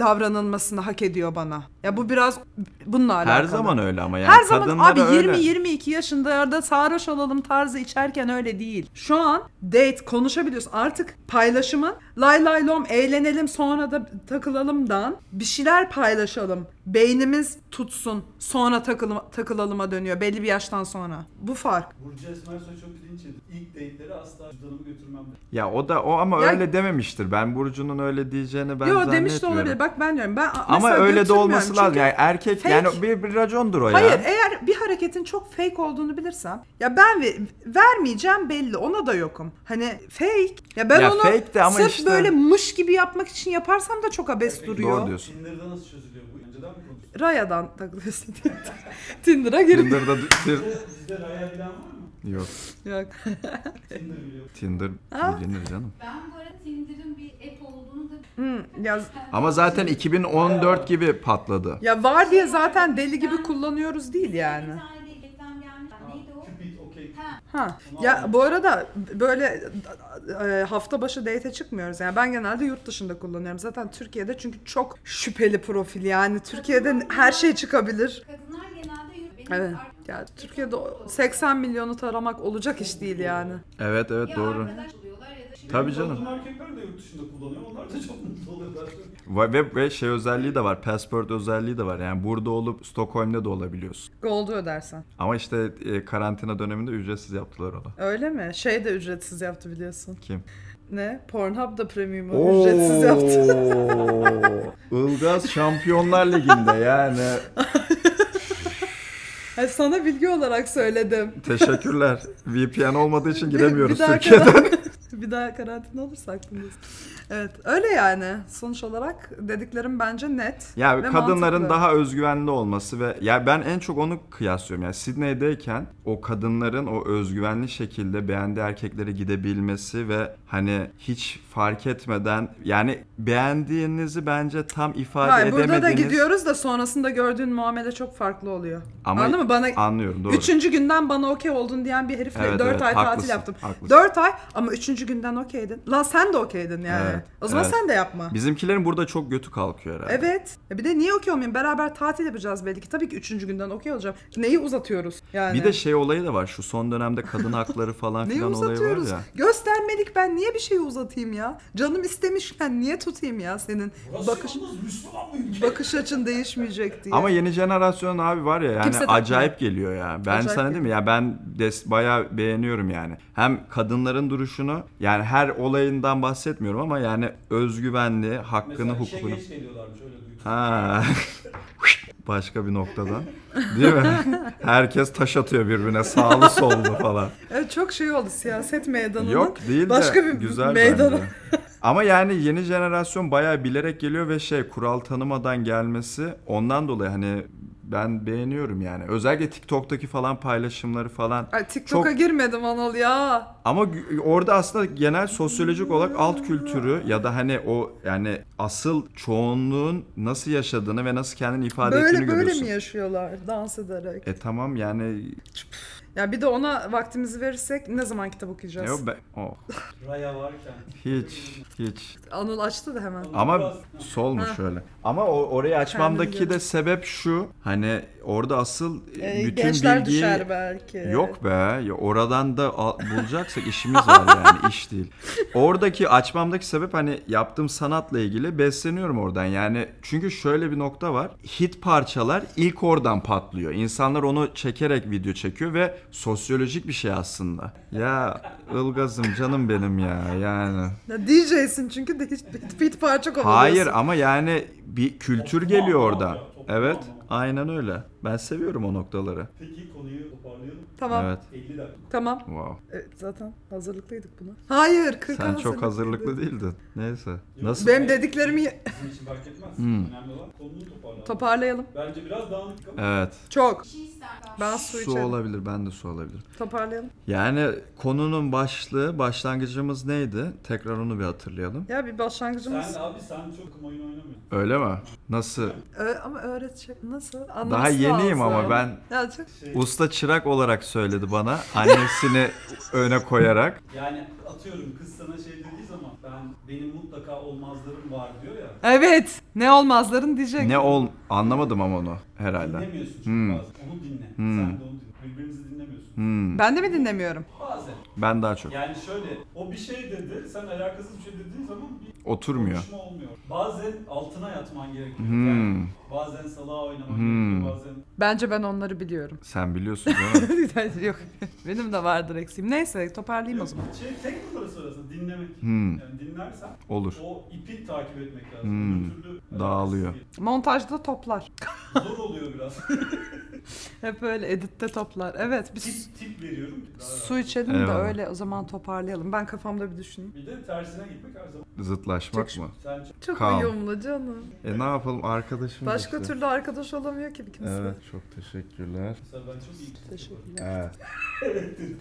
davranılmasını hak ediyor bana. Ya bu biraz bununla alakalı.
Her zaman öyle ama yani
Her zaman
kadınlara
abi
öyle.
20-22 yaşında sarhoş olalım tarzı içerken öyle değil. Şu an date konuşabiliyorsun. Artık paylaşımın lay lay lom eğlenelim sonra da takılalımdan bir şeyler paylaşalım. Beynimiz tutsun sonra takılı, takılalıma dönüyor belli bir yaştan sonra. Bu fark.
Burcu Esmer Soy çok bilinç edin. İlk date'lere asla cüzdanımı götürmem.
Ya o da o ama
Ya-
öyle dememiştir. Ben Burcu'nun öyle diyeceğini ben
Yo
zannetmiyorum.
demiş de olabilir. Bak ben diyorum. Ben
Ama
mesela
öyle de
götürmüyorum
olması lazım.
çünkü-
Yani erkek
fake.
yani bir, bir racondur o ya.
Hayır e- eğer bir hareketin çok fake olduğunu bilirsem ya ben ve- vermeyeceğim belli ona da yokum. Hani fake ya ben
Ya
onu
fake de ama
sırf
işte- E,
böyle mış gibi yapmak için yaparsam da çok abes
Peki,
duruyor.
Doğru diyorsun.
Tinder'da nasıl çözülüyor bu? Önceden mi konuştuk?
Rayadan takılıyorsun. Tinder'a girip
Tinder'da bir...
Sizde, sizde raya bilen var mı?
Yok.
Yok.
Tinder biliyor.
Tinder
Ha?
bilinir canım.
Ben bu arada Tinder'ın bir app olduğunu da
Hmm, ya,
Ama zaten 2014 gibi patladı.
ya var diye zaten deli gibi kullanıyoruz değil yani.
Bir tane değil, reklam gelmiş. Neydi o?
Cupid, okey.
Ha,
Ha. Ya bu arada böyle e, hafta başı date'e çıkmıyoruz. Yani ben genelde yurt dışında kullanıyorum. Zaten Türkiye'de çünkü çok şüpheli profil. Yani Türkiye'de her şey çıkabilir.
Kadınlar genelde yürü. Benim
Evet.
arkadaşım-
Ya Türkiye'de o 80 milyonu taramak olacak iş değil yani.
Evet evet
Ya
doğru.
arkadaş oluyorlar ya da şimdi-
Tabii canım.
Kadın erkekler de yurt dışında kullanıyor. Onlar da çok mutlu oluyorlar.
Ve, ve- ve şey özelliği de var. Passport özelliği de var. Yani burada olup Stockholm'de de olabiliyorsun.
Gold'u ödersen.
Ama işte e, karantina döneminde ücretsiz yaptılar onu.
Öyle mi? Şey de ücretsiz yaptı biliyorsun.
Kim?
Ne? Pornhub da premium'u ücretsiz yaptı.
Ilgaz Şampiyonlar Ligi'nde yani.
Ay, E, sana bilgi olarak söyledim.
Teşekkürler. VPN olmadığı için
bir
giremiyoruz
daha
Türkiye'de.
karan- bir daha karantina olursa aklımız. Evet öyle yani. Sonuç olarak dediklerim bence net.
Ya
ve
kadınların
mantıklı.
daha özgüvenli olması ve ya ben en çok onu kıyaslıyorum. Yani Sydney'deyken o kadınların o özgüvenli şekilde beğendiği erkeklere gidebilmesi ve hani hiç fark etmeden yani beğendiğinizi bence tam ifade
Hayır,
edemediğiniz.
burada da gidiyoruz da sonrasında gördüğün muamele çok farklı oluyor.
Ama
Anladın mı? Bana
anlıyorum doğru.
Üçüncü günden bana okey oldun diyen bir herifle
Evet,
4
evet,
ay tatil
haklısın,
yaptım.
haklısın.
4 ay ama üçüncü günden okeydin. Lan sen de okeydin yani.
Evet,
o zaman
evet.
sen de yapma.
Bizimkilerin burada çok götü kalkıyor herhalde.
Evet. Ya Bir de niye okey olmayayım? Beraber tatil yapacağız belki. Tabii ki üçüncü günden okey olacağım. Neyi uzatıyoruz yani?
Bir de şey olayı da var. Şu son dönemde kadın hakları falan
Neyi
filan olayı var
uzatıyoruz?
ya.
Göstermedik ben niye bir şeyi uzatayım ya? Canım istemişken niye tutayım ya senin?
Burası
Bakış
yalnız Müslüman bir ülke.
bakış açın değişmeyecek diye.
Ama yeni jenerasyon abi var ya yani
Kimse takmıyor.
acayip geliyor ya. Ben
Acayip
sana değil mi ya ben des bayağı beğeniyorum yani. Hem kadınların duruşunu yani her olayından bahsetmiyorum ama yani özgüvenli, hakkını,
Mesela işe
hukukunu.
geç geliyorlarmış öyle duydum.
Ha. Başka bir noktadan. Değil mi? Herkes taş atıyor birbirine sağlı sollu falan.
Evet, çok şey oldu siyaset meydanının.
Yok değil de
başka bir
güzel
meydanı.
bence. Ama yani yeni jenerasyon bayağı bilerek geliyor ve şey kural tanımadan gelmesi ondan dolayı hani ben beğeniyorum yani. Özellikle TikTok'taki falan paylaşımları falan.
Ay, TikTok'a
Çok-
girmedim Anıl ya.
Ama gü- orada aslında genel sosyolojik olarak alt kültürü ya da hani o yani asıl çoğunluğun nasıl yaşadığını ve nasıl kendini ifade ettiğini
Böyle böyle
görüyorsun.
mi yaşıyorlar dans ederek?
E tamam yani
Ya bir de ona vaktimizi verirsek ne zaman kitap okuyacağız?
Yo, ben- oh,
Raya varken.
hiç hiç.
Anıl açtı da hemen.
Ama
Biraz-
solmuş
Ha.
öyle. Ama o, orayı açmamdaki
biliyorum.
de sebep şu. Hani orada asıl
Ee,
bütün
gençler
bilgiyi
düşer belki.
Yok be. Ya oradan da al- bulacaksak işimiz var yani iş değil. Oradaki açmamdaki sebep hani yaptığım sanatla ilgili besleniyorum oradan. Yani çünkü şöyle bir nokta var. Hit parçalar ilk oradan patlıyor. İnsanlar onu çekerek video çekiyor ve sosyolojik bir şey aslında. Ya Ilgaz'ım canım benim ya yani.
Ya DJ'sin çünkü de hiç bit, bit parça kovalıyorsun.
Hayır ama yani bir kültür
Toplama
geliyor
anlamı
orada.
ya, toplama
Evet.
anlamı.
Aynen öyle. Ben seviyorum o noktaları.
Peki konuyu toparlayalım.
Tamam
Evet.
50 dakika.
tamam.
Wow.
Evet, zaten hazırlıklıydık buna. Hayır 40
Sen çok hazırlıklı değildin. Neyse. Nasıl?
Benim dediklerimi ye-
Bizim için fark etmez.
Hmm.
Önemli olan konuyu toparlayalım.
toparlayalım.
Bence biraz dağınık ama.
Evet.
Çok.
Bir şey ister.
Ben su,
Su
içerim.
olabilir, ben de su olabilir.
Toparlayalım.
Yani konunun başlığı, başlangıcımız neydi? Tekrar onu bir hatırlayalım.
Ya bir başlangıcımız.
Sen abi sen çok kum oyun oynamıyorsun.
Öyle mi? Nasıl?
Ö- ama öğretecek nasıl? Anlaması
Daha yeniyim
lazım.
ama ben
Ya çok
Şey,
usta çırak olarak söyledi bana. Annesini öne koyarak.
yani atıyorum kız sana şey dediği zaman ben benim mutlaka olmazlarım var diyor ya.
Evet. Ne olmazların diyecek.
Ne ol anlamadım ama onu herhalde.
Dinlemiyorsun çünkü
Hmm.
bazen. Onu dinle.
Hmm.
Sen de onu dinle. Birbirinizi dinlemiyorsun.
Hmm,
Ben de mi dinlemiyorum?
Bazen.
ben daha çok
Yani şöyle o bir şey dedi. Sen alakasız bir şey dediğin zaman bir
oturmuyor.
konuşma olmuyor. Bazen altına yatman gerekiyor. Yani
Hmm,
bazen salağa oynaman
Hmm.
gerekiyor. Bazen
Bence ben onları biliyorum.
sen biliyorsun değil mi?
Yok. Benim de vardır eksiğim. Neyse toparlayayım o zaman.
Şey tek numara sonrasında dinlemek.
Hmm,
Yani dinlersen
olur.
o ipi takip etmek lazım.
Hmm.
Öbür türlü alakasız
Dağılıyor.
değil.
Montajda toplar.
Zor oluyor biraz.
Hep öyle editte toplar. Evet biz
tip, tip veriyorum. ki daha
su
rahat.
içelim de
Eyvallah.
öyle o zaman toparlayalım. Ben kafamda bir düşüneyim.
Bir de tersine gitmek her zaman.
Zıtlaşmak
Çok-
mı?
Sen çok
Çok
Kaan.
uyumlu canım.
E ne yapalım arkadaşım
Başka
işte.
türlü arkadaş olamıyor ki kimse.
Evet çok teşekkürler. E,
mesela ben çok iyi.
Teşekkürler.
Evet.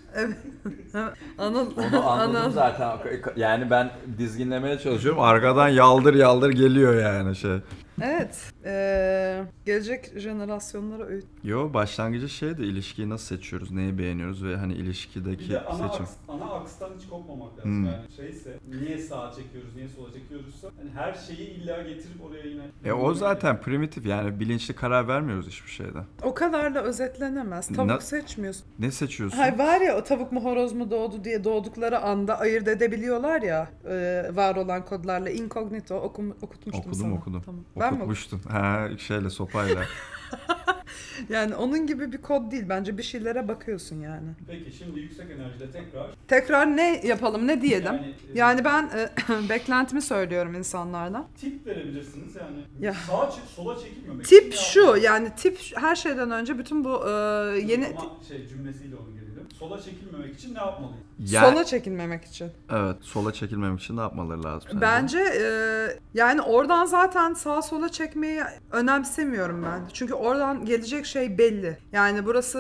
Anıl,
Onu anladım
Anıl.
zaten. Yani ben dizginlemeye çalışıyorum. Arkadan yaldır yaldır geliyor yani şey.
Evet. Ee, gelecek jenerasyonlara öğüt.
Yo başlangıcı şeydi ilişkiyi nasıl seçiyoruz, neyi beğeniyoruz ve hani ilişkideki
Bir de ana,
seçim.
aks, ana akstan hiç kopmamak lazım.
Hmm.
Yani şeyse niye sağa çekiyoruz, niye sola çekiyoruzsa hani her şeyi illa getirip oraya yine...
E o zaten primitif yani bilinçli karar vermiyoruz hiçbir şeyde.
O kadarla özetlenemez. Tavuk
Na-
seçmiyorsun.
Ne seçiyorsun?
Hay var ya o tavuk mu horoz mu doğdu diye doğdukları anda ayırt edebiliyorlar ya e, var olan kodlarla incognito okum, okutmuştum
Okudum,
sana.
okudum.
Tamam. Ben mi okudum?
Okutmuştun. Ha şeyle sopayla.
Yani onun gibi bir kod değil bence bir şeylere bakıyorsun yani.
Peki şimdi yüksek enerjide tekrar...
Tekrar ne yapalım ne diyelim?
Yani, e,
şey Yani ben e, beklentimi söylüyorum insanlardan.
Tip verebilirsiniz yani.
Ya.
Sağa çek, sola çekilmemek.
Tip
Ya-
şu yani tip her şeyden önce bütün bu e, yeni
Ama şey cümlesiyle onu gelelim. Sola çekilmemek için ne yapmalıyız?
Ya-
sola çekilmemek için.
Evet sola çekilmemek için ne yapmaları lazım? sence?
Bence e, yani oradan zaten sağa sola çekmeyi önemsemiyorum ben. Çünkü oradan gelecek şey belli. Yani burası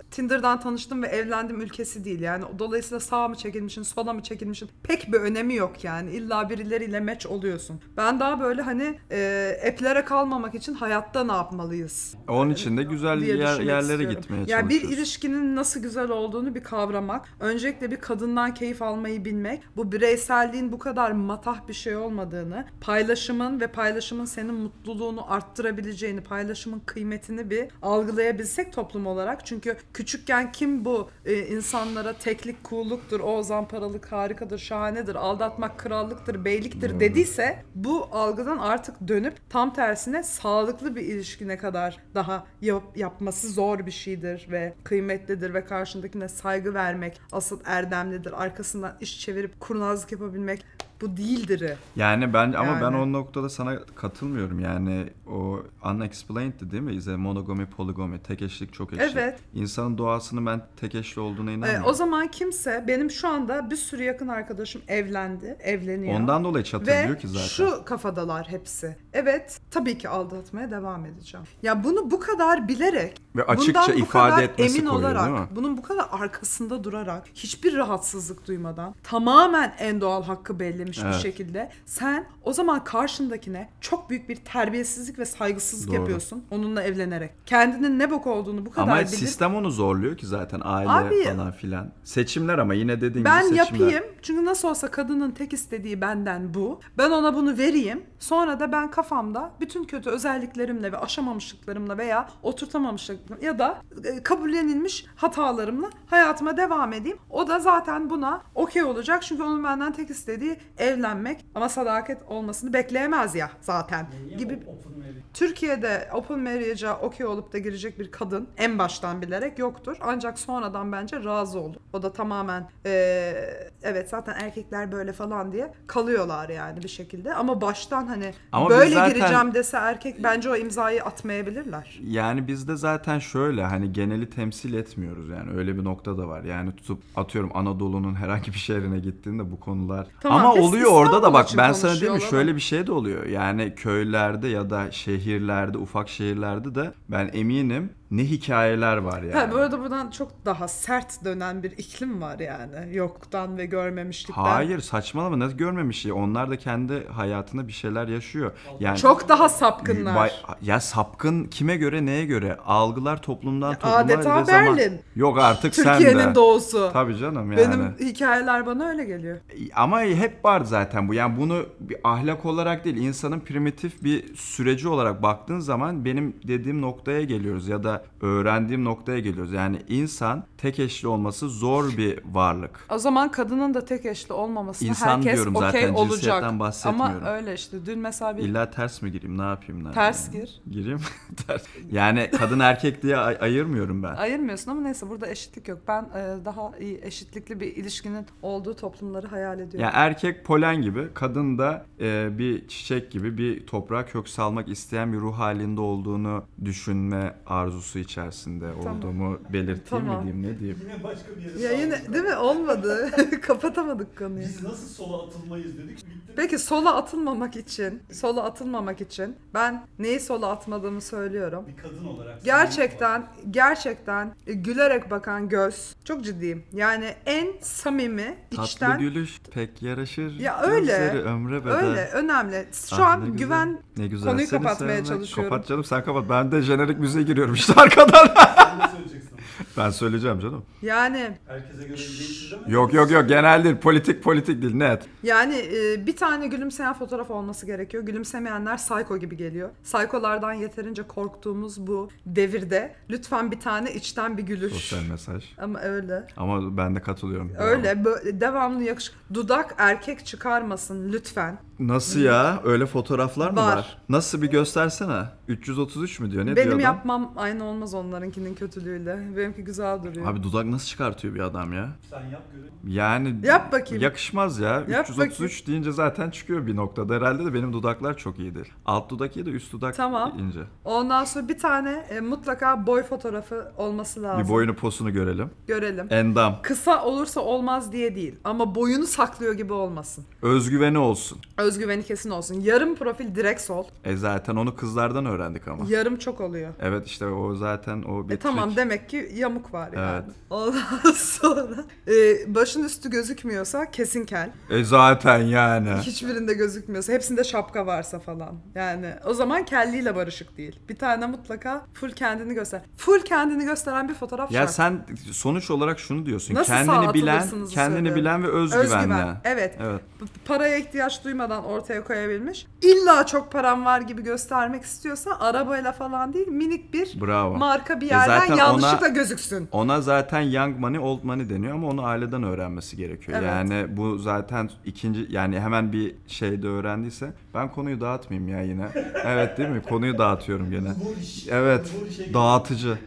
e, Tinder'dan tanıştım ve evlendim ülkesi değil. Yani dolayısıyla sağa mı çekilmişsin, sola mı çekilmişsin pek bir önemi yok yani. İlla birileriyle meç oluyorsun. Ben daha böyle hani e, eplere kalmamak için hayatta ne yapmalıyız?
Onun için de güzel
diye
yer-
düşünmek
yerlere
istiyorum.
gitmeye
Ya bir
çalışıyoruz.
ilişkinin nasıl güzel olduğunu bir kavramak, öncelikle bir kadından keyif almayı bilmek, bu bireyselliğin bu kadar matah bir şey olmadığını, paylaşımın ve paylaşımın senin mutluluğunu arttırabileceğini, paylaşımın kıymetini bir algılayabilsek toplum olarak. Çünkü küçükken kim bu e, insanlara teklik kulluktur, o zamparalık harikadır, şahanedir, aldatmak krallıktır, beyliktir dediyse bu algıdan artık dönüp tam tersine sağlıklı bir ilişki ne kadar daha yap- yapması zor bir şeydir ve kıymetlidir ve karşındakine saygı vermek asıl erdemlidir. Arkasından iş çevirip kurnazlık yapabilmek bu değildir. E,
Yani ben ama ben
Yani.
o noktada sana katılmıyorum. Yani o unexplained'di değil mi? İşte monogami, poligami, tek eşlik, çok eşlik.
Evet.
İnsanın doğasını ben tek eşli olduğuna
Ee,
inanmıyorum.
o zaman kimse benim şu anda bir sürü yakın arkadaşım evlendi, evleniyor.
Ondan dolayı
Ve
çatırlıyor ki zaten.
şu kafadalar hepsi. Evet, tabii ki aldatmaya devam edeceğim. Ya bunu bu kadar bilerek
Ve açıkça
bundan bu
ifade
kadar
etmesi
emin
koyuyor
olarak,
değil mi?
bunun bu kadar arkasında durarak, hiçbir rahatsızlık duymadan, tamamen en doğal hakkı belli edilmiş bir
Evet.
şekilde. Sen o zaman karşındakine çok büyük bir terbiyesizlik ve saygısızlık
Doğru.
yapıyorsun onunla evlenerek. Kendinin ne bok olduğunu bu kadar
Ama
bilip
sistem onu zorluyor ki zaten aile
Abi-
falan filan. Seçimler ama yine dediğin
ben
gibi seçimler.
yapayım çünkü nasıl olsa kadının tek istediği benden bu. Ben ona bunu vereyim. Sonra da ben kafamda bütün kötü özelliklerimle ve aşamamışlıklarımla veya oturtamamışlıklarımla ya da e, kabullenilmiş hatalarımla hayatıma devam edeyim. O da zaten buna okey olacak çünkü onun benden tek istediği evlenmek ama sadakat olmasını bekleyemez ya zaten
Niye
gibi.
o- open marriage?
Türkiye'de open marriage'a okey olup da girecek bir kadın en baştan bilerek yoktur. Ancak sonradan bence razı oldu. O da tamamen eee, evet zaten erkekler böyle falan diye kalıyorlar yani bir şekilde. Ama baştan hani
Ama biz
böyle
zaten-
gireceğim dese erkek bence o imzayı atmayabilirler.
Yani bizde zaten şöyle hani geneli temsil etmiyoruz yani öyle bir nokta da var. Yani tutup atıyorum Anadolu'nun herhangi bir şehrine gittiğinde bu konular.
Tamam,
Ama
biz
oluyor orada da
İstanbul
bak
için
ben sana diyeyim mi
konuşuyorlar
şöyle bir şey de oluyor. Yani köylerde ya da şehirlerde ufak şehirlerde de ben eminim ne hikayeler var yani.
Ha, bu arada buradan çok daha sert dönen bir iklim var yani. Yoktan ve görmemişlikten.
Hayır saçmalama nasıl görmemiş ya onlar da kendi hayatında bir şeyler yaşıyor. Yani
Çok daha sapkınlar.
Vay- ya sapkın kime göre neye göre algılar toplumdan topluma
adeta
ve zaman-
Berlin.
Yok artık sen de.
Türkiye'nin doğusu.
Tabii canım yani.
Benim hikayeler bana öyle geliyor.
Ama hep var zaten bu. Yani bunu bir ahlak olarak değil, insanın primitif bir süreci olarak baktığın zaman benim dediğim noktaya geliyoruz ya da öğrendiğim noktaya geliyoruz. Yani insan tek eşli olması zor bir varlık.
O zaman kadının da tek eşli olmamasına
İnsan
herkes
diyorum
okey
zaten,
olacak.
cinsiyetten bahsetmiyorum.
Ama öyle işte dün mesela bir
İlla ters mi gireyim? Ne yapayım? Ne
Ters
yapayım?
gir.
Gireyim. ters. Yani kadın erkek diye ay- ayırmıyorum ben.
ayırmıyorsun ama neyse burada eşitlik yok. Ben e, daha iyi eşitlikli bir ilişkinin olduğu toplumları hayal ediyorum.
Yani erkek polen gibi, kadın da e, bir çiçek gibi bir toprağa kök salmak isteyen bir ruh halinde olduğunu düşünme arzusu içerisinde
Tamam.
olduğumu belirteyim
Tamam.
mi diyeyim ne diyeyim.
Yine başka bir yere
ya yine
sardık.
değil mi olmadı. Kapatamadık konuyu.
Biz nasıl sola atılmayız dedik. Bitti.
Peki sola atılmamak için, sola atılmamak için ben neyi sola atmadığımı söylüyorum.
Bir kadın olarak.
Gerçekten gerçekten e, gülerek bakan göz çok ciddiyim. Yani en samimi
Tatlı
içten
gülüş pek yaraşır.
Ya öyle,
gözleri ömre bedel.
öyle önemli. Şu
Ah, ne
an
güzel,
güven
ne güzel.
konuyu
Seni
kapatmaya
sevmek.
çalışıyorum.
Kapat canım sen kapat. Ben de jenerik müziğe giriyorum işte arkadan.
Sen ne söyleyeceksin?
ben söyleyeceğim canım.
yani
Herkese göre bir değişir değil mi?
Yok yok yok genel değil politik politik değil net.
Yani e, bir tane gülümseyen fotoğraf olması gerekiyor. Gülümsemeyenler psycho gibi geliyor. Psycholardan yeterince korktuğumuz bu devirde lütfen bir tane içten bir gülüş.
Sosyal mesaj.
Ama öyle.
Ama ben de katılıyorum.
Öyle böyle devamlı yakış dudak erkek çıkarmasın lütfen.
Nasıl ya? Öyle fotoğraflar mı var?
Var.
Nasıl bir göstersene. 333 mü diyor? Ne
Benim
diyor adam?
yapmam aynı olmaz onlarınkinin kötülüğüyle. Benimki güzel duruyor.
Abi dudak nasıl çıkartıyor bir adam ya?
Sen yap görelim.
Yani
Yap bakayım.
yakışmaz ya.
Yap
333 deyince zaten çıkıyor bir noktada. Herhalde de benim dudaklar çok iyidir. Alt dudak iyi de üst dudak
Tamam.
ince.
Ondan sonra bir tane e, mutlaka boy fotoğrafı olması lazım.
Bir boyunu posunu görelim.
Görelim.
Endam.
Kısa olursa olmaz diye değil ama boyunu saklıyor gibi olmasın.
Özgüveni olsun.
Özgüveni kesin olsun. Yarım profil direkt sol.
E zaten onu kızlardan öğrendik ama.
Yarım çok oluyor.
Evet işte o zaten o bir
E tamam
trik.
demek ki yamuk var yani.
Evet.
Ondan sonra e, başın üstü gözükmüyorsa kesin kel.
E zaten yani.
Hiçbirinde gözükmüyorsa, hepsinde şapka varsa falan. Yani o zaman kelliyle barışık değil. Bir tane mutlaka full kendini göster. Full kendini gösteren bir fotoğraf
Ya
şart.
sen sonuç olarak şunu diyorsun.
Nasıl
kendini
sağa
bilen,
atılırsınızı
kendini
söylüyorum.
bilen ve özgüvenli.
Özgüven. Evet.
Evet.
P- Paraya ihtiyaç duymadan ortaya koyabilmiş. İlla çok param var gibi göstermek istiyorsa arabayla falan değil minik bir
Bravo.
marka bir
E
yerden
zaten
yanlışlıkla
ona-
gözüksün.
Ona zaten young money old money deniyor ama onu aileden öğrenmesi gerekiyor.
Evet.
Yani bu zaten ikinci yani hemen bir şeyde öğrendiyse ben konuyu dağıtmayayım ya yine. Evet değil mi? Konuyu dağıtıyorum gene.
Bu iş.
Evet.
Bu işe
Dağıtıcı.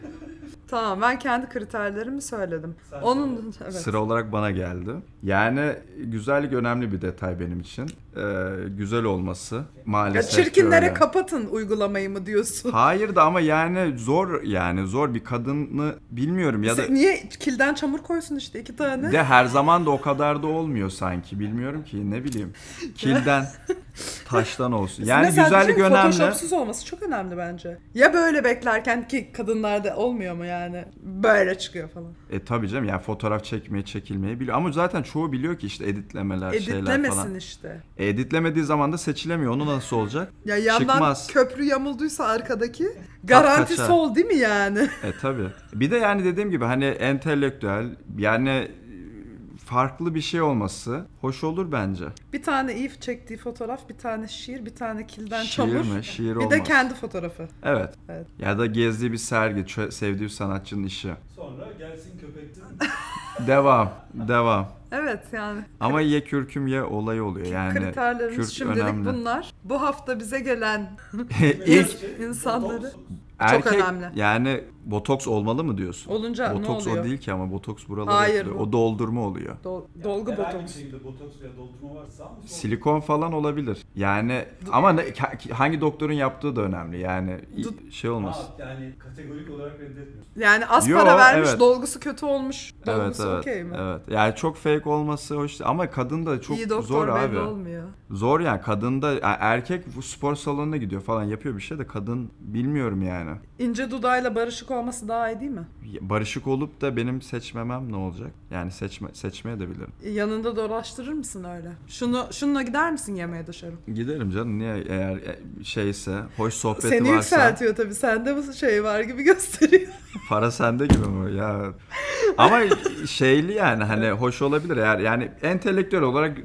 Tamam ben kendi kriterlerimi söyledim.
Sen
Onun evet.
Sıra olarak bana geldi. Yani güzellik önemli bir detay benim için. Ee, güzel olması
ya
maalesef. ki
çirkinlere
öyle.
kapatın uygulamayı mı diyorsun?
Hayır da ama yani zor yani zor bir kadını bilmiyorum ya da
Sen Niye kilden çamur koysun işte iki tane?
de her zaman da o kadar da olmuyor sanki bilmiyorum ki ne bileyim kilden taştan olsun yani
Mesela
güzellik
diyorum ki
önemli
Photoshop'suz olması çok önemli bence. Ya böyle beklerken ki kadınlarda olmuyor mu yani? yani. Böyle çıkıyor falan.
E tabii canım yani fotoğraf çekmeye çekilmeyi biliyor. Ama zaten çoğu biliyor ki işte editlemeler şeyler
Editlemesin
falan.
işte.
E, editlemediği zaman da seçilemiyor. Onu nasıl olacak?
Ya yandan
Çıkmaz.
köprü yamulduysa arkadaki garanti
kaçar.
sol değil mi yani?
E tabii. Bir de yani dediğim gibi hani entelektüel yani e, farklı bir şey olması hoş olur bence.
bir tane Eve çektiği fotoğraf, bir tane şiir, bir tane kilden
şiir
çamur.
mi? Şiir
bir
olmaz.
de kendi fotoğrafı.
Evet.
Evet.
Ya da gezdiği bir sergi, çö- sevdiği bir sanatçının işi.
Sonra gelsin köpekten
Devam, devam.
Evet yani
Ama ye kürküm ye olay oluyor yani.
kriterlerimiz
kürk
şimdilik
önemli.
bunlar. Bu hafta bize gelen
İlk
şey,
insanları-
erkek
önemli.
yani botoks olmalı mı diyorsun?
olunca ne
botoks
oluyor?
o değil ki ama botoks buralara
Hayır,
yapılıyor.
bu-
O doldurma oluyor.
Dol- dolgu
botoks.
botoks.
şeyinde botoks veya doldurma varsa sağ mı sol mu?
Silikon falan olabilir. Yani ama ne, ka- hangi doktorun yaptığı da önemli. Yani i- şey olmaz.
Ha, yani kategorik olarak reddetmiyorsun.
Yani az
Yo,
para vermiş,
evet.
dolgusu kötü olmuş.
Evet
Dolgusu
evet.
okey mi?
Evet. Yani çok fake olması hoş değil. ama kadın da çok
İyi doktor
zor
belli
abi.
olmuyor.
Zor yani kadın da yani erkek bu spor salonuna gidiyor falan yapıyor bir şey de kadın bilmiyorum yani.
İnce dudağıyla barışık olması daha iyi değil mi?
Barışık olup da benim seçmemem ne olacak? Yani seçme seçmeye de bilirim.
E, Yanında dolaştırır mısın öyle? Şunu şununla gider misin yemeğe dışarı?
Giderim canım niye eğer e, şeyse hoş sohbeti
Seni
varsa
yükseltiyor tabii. Sende bu şey var gibi gösteriyor.
para sende gibi mi ya? Ama şeyli yani hani hoş olabilir eğer yani entelektüel olarak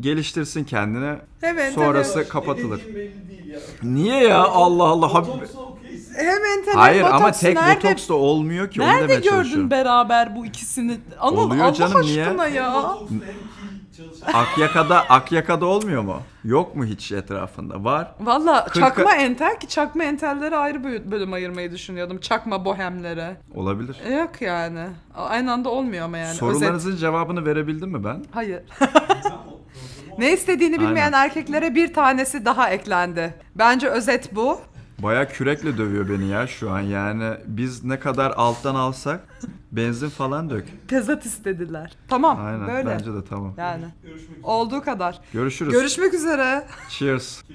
geliştirsin kendini.
Hemen
Sonrası-
tabii.
Burası kapatılır.
Ne dediğin belli değil ya.
Niye ya Allah Allah Habib-
Botoks okeysin.
Hemen tabii
Hayır ama
botoks
tek
nerede,
botoks da olmuyor ki onu
Nerede
demeye
gördün
çalışıyorum.
beraber bu ikisini? Anıl
Oluyor
Allah
canım, niye?
aşkına
Hem
ya.
botokslu hem kil çalışan.
Akyaka'da Akyaka'da olmuyor mu? Yok mu hiç etrafında? Var.
Valla
Kırka-
çakma entel ki çakma entellere ayrı bö- bölüm ayırmayı düşünüyordum. Çakma bohemlere.
Olabilir.
E, Yok yani. A- Aynı anda olmuyor ama yani. Özet.
Sorularınızın cevabını verebildim mi ben?
Hayır.
Tamam mı? Doldurma
Ne istediğini bilmeyen
Aynen.
erkeklere bir tanesi daha eklendi. Bence özet bu.
Baya kürekle dövüyor beni ya şu an yani. Biz ne kadar alttan alsak benzin falan dök.
Tezat istediler. Tamam
Aynen
böyle.
bence de tamam.
Yani
Görüşmek üzere.
olduğu kadar.
Görüşürüz.
Görüşmek üzere.
Cheers.